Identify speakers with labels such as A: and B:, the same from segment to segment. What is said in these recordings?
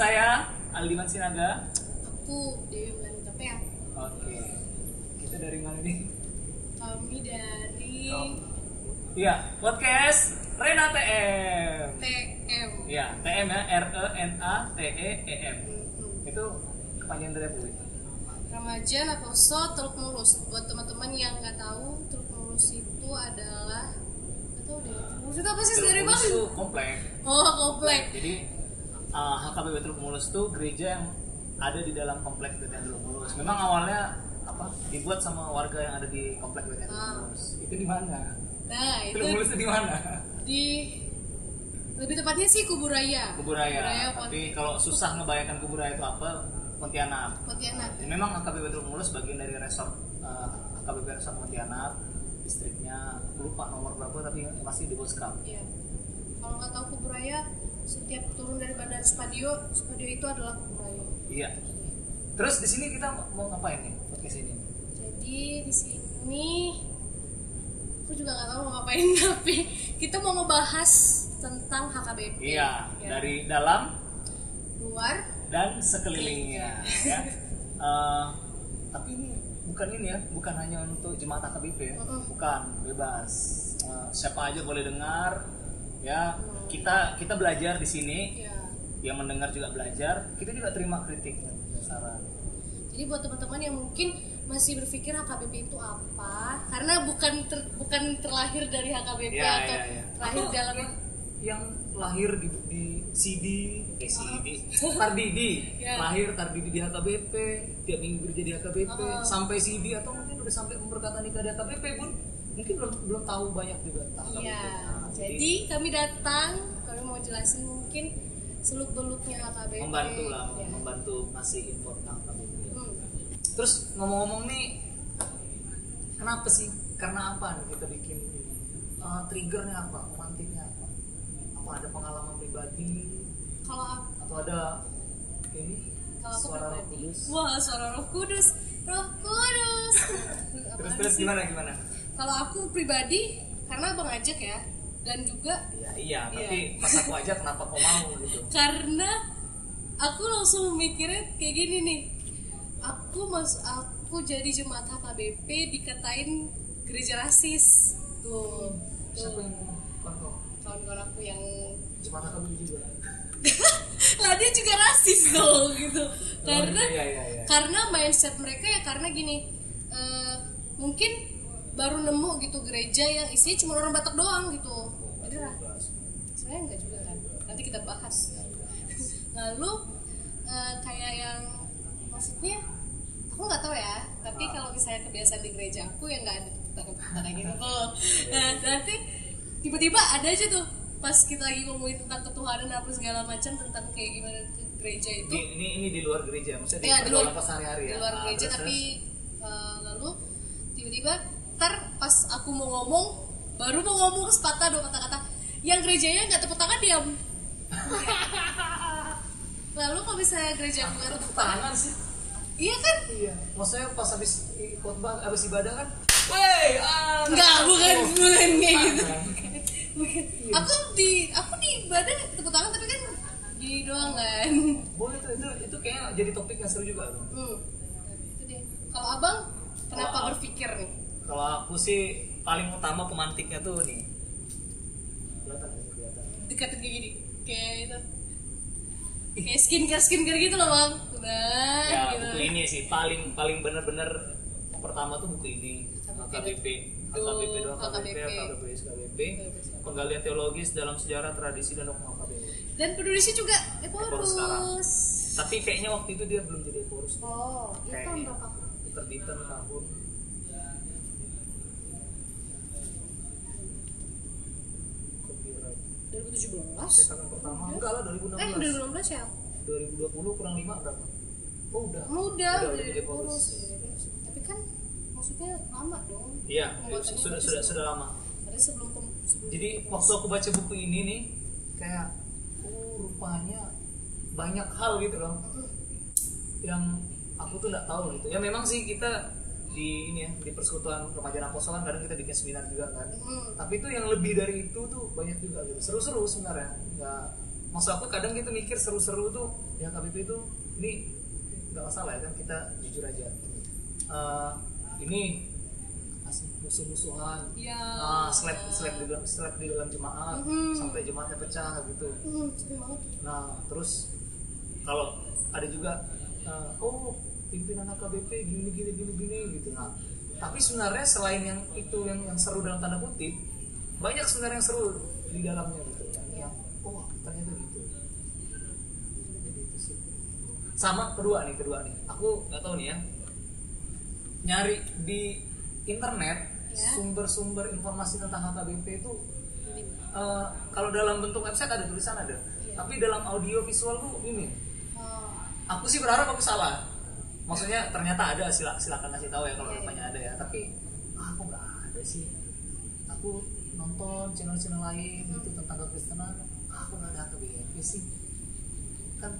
A: Nah, Aldiman Sinaga.
B: Aku Dewi Melanita Pea.
A: Oke. Kita dari mana nih?
B: Kami dari
A: Iya, podcast Rena TM.
B: TM.
A: Iya, TM ya, R E N A T E E M.
B: Mhm.
A: Itu kepanjangan dari apa itu?
B: Ramajan atau so Teluk Mulus. Buat teman-teman yang nggak tahu, Teluk Mulus itu adalah nggak tahu deh. Teluk Mulus itu apa sih sebenarnya
A: Terus
B: bang?
A: itu komplek.
B: Oh komplek.
A: Jadi uh, HKBP Teluk Mulus itu gereja yang ada di dalam komplek BTN Teluk Mulus. Memang awalnya apa dibuat sama warga yang ada di komplek BTN Teluk
B: Ah.
A: Mulus. Itu di mana?
B: Nah
A: Teluk
B: itu
A: Mulus itu di mana?
B: di lebih tepatnya sih Kuburaya. Kuburaya
A: Kuburaya.
B: Pont-
A: Tapi kalau susah ngebayangkan Kuburaya itu apa, Pontianak.
B: Pontianak.
A: Ya, memang AKBP Teluk Mulus bagian dari resort uh, AKBP Resort Pontianak distriknya aku lupa nomor berapa tapi yang pasti di Boskap
B: Iya. Kalau nggak tahu Kuburaya, setiap turun dari Bandara Spadio, Spadio itu adalah Kuburaya.
A: iya terus di sini kita mau ngapain nih podcast ini
B: Jadi di sini aku juga nggak tahu mau ngapain tapi kita mau ngebahas tentang HKBP.
A: iya
B: Ya.
A: dari dalam
B: luar.
A: dan sekelilingnya ya Eh, tapi ini bukan ini ya bukan hanya untuk jemaat AKBP ya
B: Mm-mm.
A: bukan bebas Eh, siapa aja boleh dengar ya kita kita belajar di sini
B: Ya.
A: yang mendengar juga belajar kita juga terima kritik dan saran
B: Jadi buat teman-teman yang mungkin masih berpikir HKBP itu apa? Karena bukan ter- bukan terlahir dari HKBP
A: Ya,
B: atau
A: ya, ya.
B: terlahir
A: Atau
B: iya, dalam
A: yang- yang lahir di, di CD eh CD Tardidi
B: Ya.
A: lahir Tardidi di HKBP tiap minggu kerja di HKBP
B: Oh.
A: sampai CD atau mungkin udah sampai memberkatan nikah di HKBP pun mungkin belum belum tahu banyak juga tentang HKBP
B: Iya.
A: Nah,
B: Jadi kami datang kami mau jelasin mungkin seluk-beluknya HKBP.
A: membantu lah
B: Ya.
A: membantu ngasih info tentang HKBP
B: Hmm.
A: terus ngomong-ngomong nih kenapa sih karena apa nih kita bikin ini? Eh, triggernya apa pemantiknya apa apa ada pengalaman pribadi
B: Kalau aku
A: atau ada ini
B: Kalau aku
A: suara roh
B: pribadi.
A: kudus
B: Wah, suara Roh Kudus. Roh Kudus.
A: terus
B: Apaan
A: terus
B: sih?
A: gimana gimana
B: Kalau aku pribadi karena Bang ajak ya dan juga Iya.
A: iya iya tapi pas aku aja kenapa kau mau gitu
B: karena aku langsung mikirnya kayak gini nih. Aku mas aku jadi jemaat HKBP dikatain gereja rasis. Tuh.
A: siapa
B: Tuh
A: yang kontrol
B: kawan-kawan aku yang
A: cuma kamu juga
B: lah dia juga rasis dong gitu. Karena
A: iya iya iya
B: karena mindset mereka ya karena gini eh, mungkin baru nemu gitu gereja yang isinya cuma orang Batak doang gitu jadi lah saya nggak juga kan nanti kita bahas lalu eh, kayak yang maksudnya aku nggak tahu ya tapi kalau misalnya kebiasaan di gereja aku yang nggak ada tentang kayak gitu tuh nah nanti tiba-tiba ada aja tuh pas kita lagi ngomongin tentang ketuhanan apa segala macam tentang kayak gimana ke gereja itu
A: ini, ini ini di luar gereja maksudnya di,
B: Iya, di luar-
A: pergaulan pas sehari-hari ya
B: di luar
A: Ah,
B: gereja
A: terus,
B: tapi uh, lalu tiba-tiba ntar pas aku mau ngomong baru mau ngomong sepatah dua kata-kata yang gerejanya nggak tepuk tangan diam lalu kalau misalnya gereja aku nggak
A: terus.
B: tepuk
A: tepuk
B: tangan
A: tangan sih
B: iya kan
A: iya maksudnya pas habis i- khotbah habis ibadah kan Wey, ah,
B: nggak bukan bukan kayak gitu
A: Tangan.
B: Bukan. aku di aku di badan tepuk tangan tapi kan gini doang kan
A: boleh tuh itu itu kayaknya jadi topik yang seru juga tuh.
B: hmm. itu deh kalau abang kenapa
A: Kalau-
B: berpikir nih
A: kalau aku sih paling utama pemantiknya tuh nih kelihatan nggak sih? kelihatan
B: deketin kayak gini kayak itu kayak skincare skincare gitu loh bang nah
A: ya
B: gitu
A: buku ini sih paling paling bener-bener pertama tuh buku ini
B: HKBP.
A: HKBP HKBP
B: Tuh,
A: doang HKBP
B: HKBP.
A: HKBP HKBP penggalian teologis dalam sejarah tradisi dan dogma HKBP
B: dan penulisnya juga
A: Eporus sekarang.
B: Eporus
A: tapi kayaknya waktu itu dia belum jadi korus
B: oh itu
A: Kayak
B: tahun
A: ini.
B: berapa
A: terbitan tahun Copyright.
B: 2017
A: Cetakan pertama enggak lah
B: eh
A: 2016
B: 2016 ya
A: 2020 kurang 5 berapa oh udah
B: muda
A: udah
B: udah
A: jadi korus
B: Eporus. tapi kan maksudnya lama dong
A: iya
B: Pembuatannya
A: sudah
B: berarti
A: sudah
B: sebelum-
A: sudah lama
B: berarti sebelum pem- sebelum
A: jadi waktu aku baca buku ini nih kayak oh rupanya banyak hal gitu loh yang aku tuh nggak tahu gitu ya memang sih kita di ini ya di persekutuan remaja apostol kan kadang kita bikin seminar juga kan
B: Hmm.
A: tapi itu yang lebih dari itu tuh banyak juga gitu seru-seru sebenarnya nggak maksud aku kadang kita mikir seru-seru tuh ya KBP itu ini nggak masalah ya kan kita jujur aja Eh, ini as- musuh-musuhan
B: Iya.
A: ah, slap slap di dalam slap di dalam jemaat
B: Mhm.
A: sampai jemaatnya pecah gitu
B: Hmm, seru banget.
A: Nah, terus kalau ada juga eh, oh pimpinan AKBP gini gini gini gini gitu. Nah, tapi sebenarnya selain yang itu yang yang seru dalam tanda kutip, banyak sebenarnya yang seru di dalamnya gitu. Yang, yang oh ternyata gitu. Jadi itu sih. Sama kedua nih, kedua nih. Aku nggak tahu nih ya. Nyari di internet
B: Ya.
A: sumber-sumber informasi tentang AKBP itu
B: Ini.
A: Eh, kalau dalam bentuk website ada tulisan ada
B: Iya.
A: tapi dalam audio visual tuh ini
B: Oh,
A: aku sih berharap aku salah maksudnya ternyata ada sila silakan kasih tahu ya kalau
B: Iya,
A: rupanya ada ya tapi ah, aku nggak ada sih aku nonton channel-channel lain itu
B: Hmm.
A: tentang kekristenan ah, aku nggak ada KBP sih kan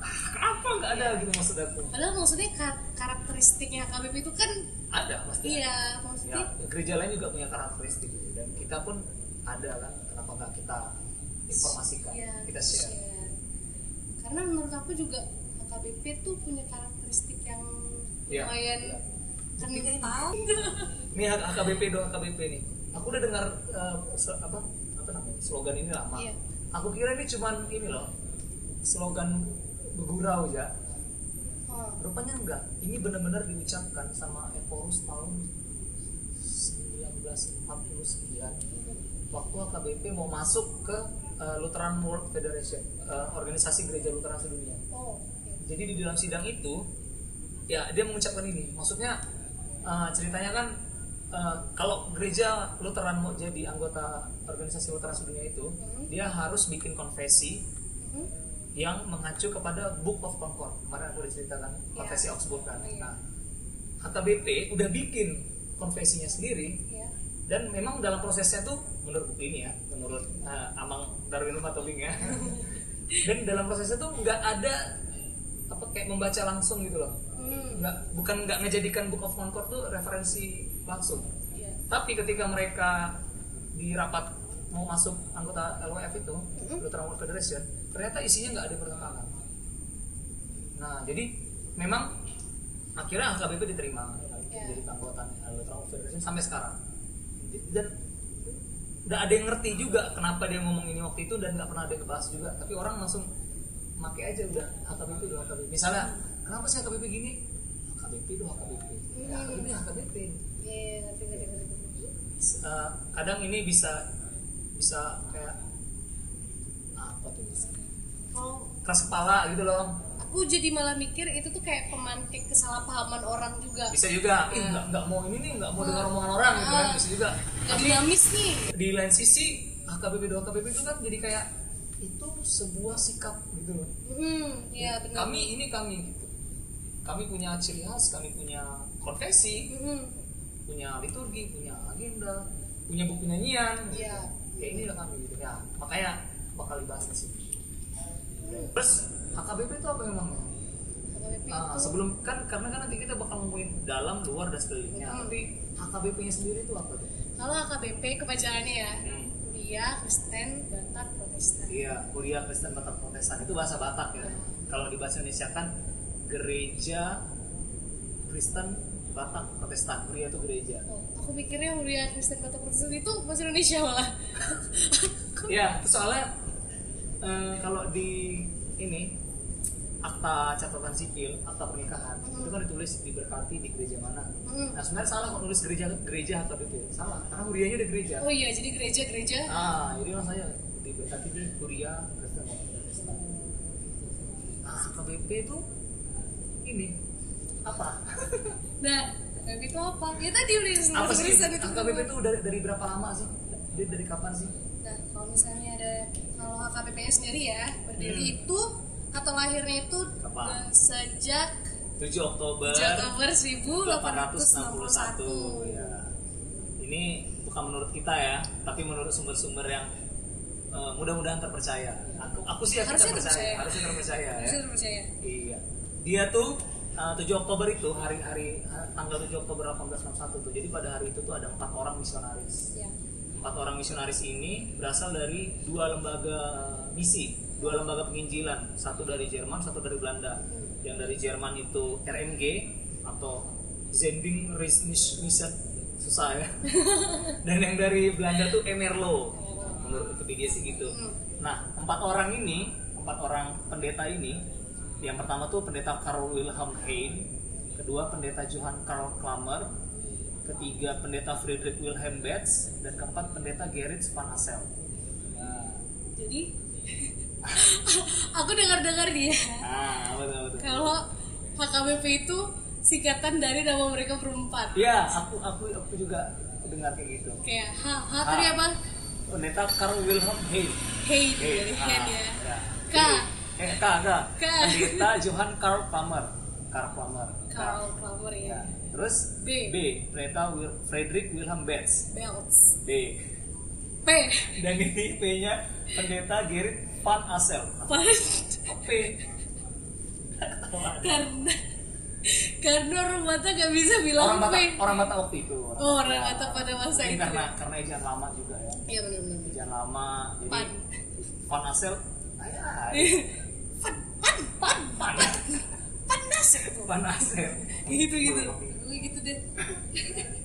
A: ah, kenapa nggak ada gitu maksud aku
B: Padahal maksudnya ka- karakteristiknya HKBP itu kan
A: ada pasti
B: iya maksudnya
A: ya gereja lain juga punya karakteristik gitu. dan kita pun ada kan kenapa nggak kita informasikan
B: Iya,
A: kita share
B: Karena menurut aku juga HKBP tuh punya karakteristik yang
A: Iya,
B: lumayan
A: iya.
B: ternyata
C: tahu
A: ini hak HKBP doang HKBP nih aku udah dengar eh, se- apa apa namanya slogan ini lama
B: Iya.
A: aku kira ini cuman ini loh slogan begurau ya
B: Oh,
A: rupanya enggak ini benar-benar diucapkan sama Eporus tahun 1940 sekian waktu HKBP mau masuk ke eh, Lutheran World Federation eh, organisasi gereja Lutheran sedunia
B: oh, iya.
A: jadi di dalam sidang itu ya dia mengucapkan ini maksudnya eh, ceritanya kan eh, kalau gereja Lutheran mau jadi anggota organisasi Lutheran sedunia itu
B: Mhm.
A: dia harus bikin konfesi
B: Mhm.
A: yang mengacu kepada Book of Concord kemarin aku udah ceritakan konfesi Augsburg kan
B: Iya.
A: nah HKBP udah bikin konfesinya sendiri
B: Iya.
A: dan memang dalam prosesnya tuh menurut buku ini ya menurut eh, Amang Darwin Matoling ya dan dalam prosesnya tuh nggak ada apa kayak membaca langsung gitu loh
B: Hmm,
A: nggak bukan nggak ngejadikan Book of Concord tuh referensi langsung
B: iya.
A: tapi ketika mereka di rapat mau masuk anggota LWF itu Lutheran World Federation ya, ternyata isinya nggak ada pertentangan nah jadi memang akhirnya HKBP diterima
B: Ya.
A: jadi keanggotaan Lutheran World Federation sampai sekarang dan nggak ada yang ngerti juga kenapa dia ngomong ini waktu itu dan nggak pernah ada yang kebahas juga tapi orang langsung make aja udah HKBP udah HKBP misalnya kenapa sih HKBP gini HKBP udah HKBP ya, HKBP HKBP
B: Iya, iya, ngerti, ngerti, ngerti, ngerti.
A: Eh, kadang ini bisa bisa kayak apa tuh misalnya
B: Kalau
A: keras kepala gitu loh
B: aku jadi malah mikir itu tuh kayak pemantik kesalahpahaman orang juga.
A: bisa juga "Ih, nggak nggak mau ini nih nggak mau dengar omongan orang gitu kan bisa juga
B: Gak dinamis nih.
A: di lain sisi HKBP 2 HKBP itu kan jadi kayak itu sebuah sikap gitu loh
B: Hmm, iya benar.
A: kami ini kami gitu kami punya ciri khas kami punya konfesi
B: Hmm,
A: punya liturgi punya agenda punya buku nyanyian gitu.
B: Iya.
A: ya ini lah kami gitu ya makanya bakal dibahas di sini terus HKBP itu apa emangnya
B: HKBP
A: Ah,
B: itu
A: sebelum kan karena kan nanti kita bakal ngomongin dalam luar dan sekelilingnya
B: Hmm.
A: tapi HKBP nya sendiri itu apa tuh
B: kalau HKBP kebacaannya ya dia Kristen Batak Protestan.
A: Hmm. iya kuliah Kristen Batak Protestan itu bahasa Batak ya kalau di bahasa Indonesia kan gereja Kristen Batak Protestan kuliah itu gereja
B: Oh, aku pikirnya Huria Kristen Batak Protestan itu bahasa Indonesia malah. Aku-
A: Ya, soalnya eh, kalau di ini akta catatan sipil, akta pernikahan itu kan ditulis diberkati di gereja mana.
B: Hmm.
A: Nah sebenarnya salah kalau nulis gereja gereja atau itu salah karena hurianya di gereja.
B: Oh iya, jadi gereja-gereja.
A: Ah, jadi maksudnya diberkati di kuria Kristen Protestan. Nah, KBP itu ini apa?
B: Nah, HKBP itu apa? Ya tadi udah
A: apa
B: bahasa
A: sih?
B: Kristen itu.
A: KBP itu dari, dari berapa lama sih? Dia dari kapan sih?
B: Nah, kalau misalnya ada kalau HKBP -nya sendiri ya, berdiri
A: Hmm.
B: itu atau lahirnya itu
A: Kapan?
B: eh, sejak
A: 7 Oktober.
B: Oktober
A: 861
B: 1861.
A: ya. Ini bukan menurut kita ya, tapi menurut sumber-sumber yang eh, mudah-mudahan terpercaya. Aku, aku sih yakin
B: Harusnya
A: terpercaya,
B: terpercaya.
A: harusnya terpercaya ya.
B: Bisa terpercaya.
A: Iya. Dia tuh eh, 7 Oktober itu hari-hari eh, tanggal 7 Oktober 1861 tuh. Jadi pada hari itu tuh ada empat orang misionaris.
B: Ya.
A: Empat orang misionaris ini berasal dari dua lembaga misi. dua lembaga penginjilan satu dari Jerman satu dari Belanda yang dari Jerman itu RMG atau Zending Mission susah ya dan yang dari Belanda tuh Emerlo menurut Wikipedia sih gitu nah empat orang ini empat orang pendeta ini yang pertama tuh pendeta Karl Wilhelm Hein kedua pendeta Johann Karl Klammer ketiga pendeta Friedrich Wilhelm Betz dan keempat pendeta Gerrit van Assel nah,
B: jadi aku dengar-dengar dia
A: ah betul betul
B: kalau HKBP itu singkatan dari nama mereka berempat
A: ya aku aku aku juga dengar kayak gitu
B: kayak H H tadi
A: H.
B: apa
A: pendeta Karl Wilhelm Hein
B: Hey
A: Hein,
B: dari
A: ah,
B: hand ya K.
A: eh K K
B: K.
A: pendeta Johann Karl Klammer Karl Klammer
B: Karl Kramer ya
A: Ya. terus
B: B.
A: B pendeta Wil- Friedrich Wilhelm Betz
B: Belts
A: B
B: P
A: dan ini P-nya pendeta Gerrit van Assel
B: Pas
A: P
B: karena karena orang Batak gak bisa
A: orang
B: bilang P
A: Batak orang Batak waktu itu orang,
B: Oh, orang Batak pada masa itu.
A: Mungkin
B: ya.
A: karena karena ejaan lama juga ya
B: iya benar-benar
A: ejaan lama jadi
B: Pan.
A: van Assel ayah,
B: pan pan pan
A: van
B: panas ya
A: van Assel
B: gitu gitu Gue gitu deh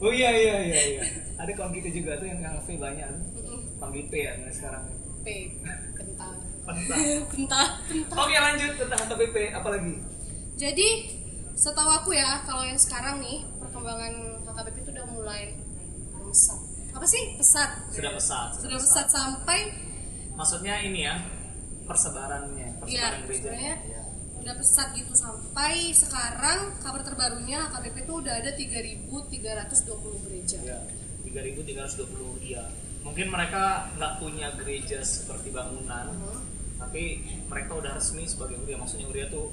A: oh iya iya iya iya ada kawan kita juga tuh yang ngasih banyak tuh. panggil P ya nah sekarang
B: P kentang
A: Kentang.
B: kentang kentang
A: oke lanjut tentang HTPP apalagi
B: jadi setahu aku ya kalau yang sekarang nih perkembangan HKBP itu udah mulai pesat apa sih pesat
A: Sudah pesat, sudah
B: sudah pesat sampai
A: maksudnya ini ya persebarannya persebaran
B: Iya,
A: gereja
B: sebenarnya.
A: Iya.
B: udah pesat gitu sampai sekarang kabar terbarunya HKBP itu udah ada 3.320 gereja
A: Ya, 3.320 iya. Mungkin mereka nggak punya gereja seperti bangunan,
B: Hmm.
A: tapi mereka udah resmi sebagai uria. Maksudnya uria tuh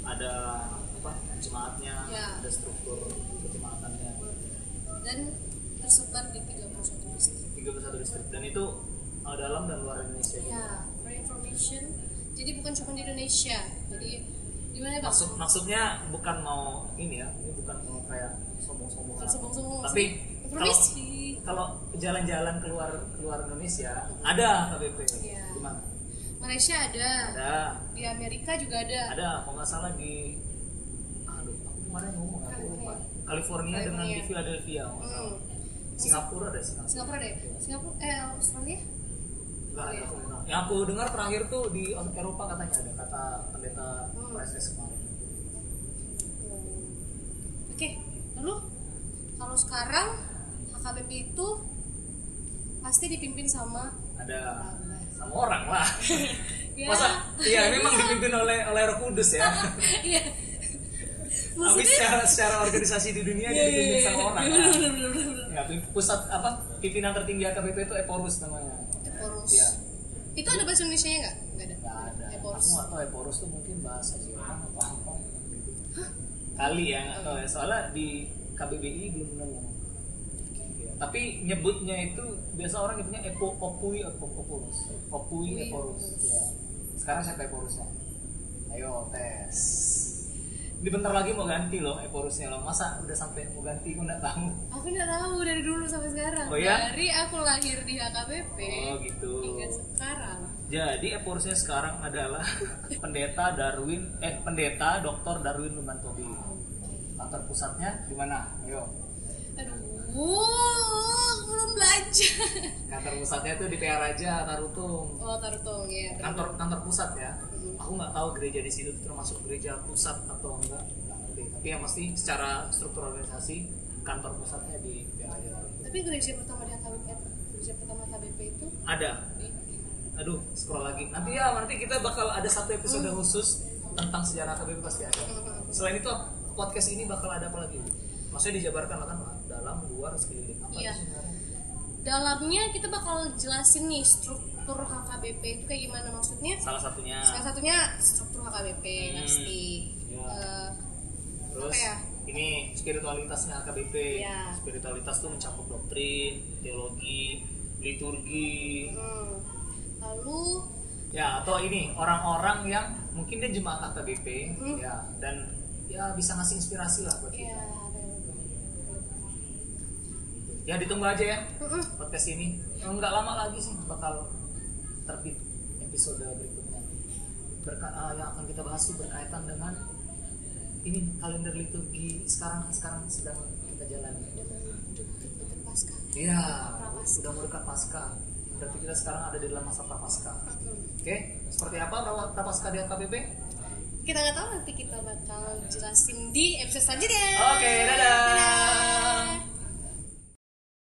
A: ada apa? Jemaatnya,
B: Ya.
A: ada struktur kejemaatannya.
B: dan tersebar di 31 distrik.
A: 31 distrik dan itu uh, dalam dan luar Indonesia. juga.
B: Ya, for information. Jadi bukan cuma di Indonesia. Jadi gimana bang?
A: Maksud maksudnya bukan mau ini ya, ini bukan mau kayak sombong-sombongan.
B: Bukan sombong-sombong.
A: Tapi
B: maksudnya
A: kalau
B: informasi.
A: kalau jalan-jalan keluar keluar Indonesia ada KBP.
B: Iya.
A: Di mana?
B: Malaysia ada.
A: Ada.
B: Di Amerika juga ada.
A: ada kalau nggak salah di aduh aku kemarin ngomong aku lupa California, dengan di
B: California.
A: Philadelphia kalau nggak salah.
B: Hmm.
A: Singapura ada Singapura
B: Singapura deh. Singapura eh Australia? Oh,
A: nggak
B: iya.
A: ada aku pernah. yang aku dengar terakhir tuh di Eropa katanya ada kata pendeta
B: Hmm.
A: PSS kemarin
B: Hmm. Oke, lalu kalau sekarang HKBP itu pasti dipimpin sama
A: ada
B: Rabbah.
A: sama orang lah
B: Ya.
A: masa iya memang dipimpin oleh oleh Roh Kudus ya
B: Iya.
A: tapi
B: Maksudnya
A: secara secara organisasi di dunia
B: Iya, iya,
A: dipimpin
B: iya.
A: sama orang
B: Bener,
A: lah.
B: bener, bener, bener, bener.
A: Ya, pusat apa pimpinan tertinggi AKBP itu Eporus namanya
B: Eporus.
A: Iya.
B: Itu ada bahasa Indonesia nya nggak? Nggak ada.
A: Gak ada.
B: Eporus.
A: Aku nggak tahu Eporus tuh mungkin bahasa Jerman atau apa. gitu. Kali ya nggak tahu ya. Soalnya di KBBI belum nemu. Iya. Tapi nyebutnya itu biasa orang nyebutnya Epo Opui atau Eporus. Opui
B: Opui,
A: Eporus.
B: Eporus.
A: Iya. Sekarang siapa Eporusnya? Ayo tes. Ini bentar lagi mau ganti loh Eporusnya loh. Masa udah sampai mau ganti aku nggak tahu.
B: Aku nggak tahu dari dulu sampai sekarang.
A: Oh, ya?
B: Dari aku lahir di HKBP
A: Oh gitu.
B: hingga sekarang.
A: Jadi eporusnya sekarang adalah pendeta Darwin eh pendeta Dr. Darwin Lumantobi. Kantor pusatnya di mana? Ayo.
B: Aduh, aku belum belajar.
A: Kantor pusatnya itu di PR aja Tarutung.
B: Oh, Tartong ya.
A: Kantor kantor pusat ya. Aku nggak tahu gereja di situ termasuk gereja pusat atau enggak. Nggak ngerti. Tapi yang pasti secara struktur organisasi kantor pusatnya di PR aja Tarutung.
B: Tapi gereja pertama di HKBP, gereja pertama HKBP itu
A: Ada.
B: di
A: Aduh, scroll lagi. Nanti ya, nanti kita bakal ada satu episode khusus tentang sejarah KBP pasti ada. Selain itu podcast ini bakal ada apa lagi? Bu? Maksudnya dijabarkan lah kan dalam luar sekeliling apa
B: Iya.
A: sih sebenarnya?
B: dalamnya kita bakal jelasin nih struktur HKBP itu kayak gimana maksudnya.
A: Salah satunya.
B: Salah satunya struktur HKBP
A: Hmm.
B: pasti.
A: Ya.
B: Eh,
A: Terus
B: apa ya?
A: ini spiritualitasnya KBP.
B: Iya.
A: Spiritualitas tuh mencakup doktrin, teologi, liturgi.
B: hmm. Lalu
A: Ya, atau ini orang-orang yang mungkin dia jemaat KBP
B: Mhm.
A: ya dan ya bisa ngasih inspirasi lah buat
B: ya
A: kita. Ya ditunggu aja ya.
B: Mm-mm.
A: podcast ini nggak lama lagi sih bakal terbit episode berikutnya berka- eh, yang akan kita bahas itu berkaitan dengan ini kalender liturgi sekarang sekarang sedang kita jalani.
B: Dekat pasca.
A: Iya,
B: Prapaskah.
A: sudah mau dekat pasca. Berarti kita sekarang ada di dalam masa prapaskah.
B: Mm-mm.
A: Oke, seperti apa pra- prapaskah di HKBP?
B: Kita nggak tahu nanti kita bakal jelasin di episode selanjutnya.
A: Oke, dadah.
B: Dadah.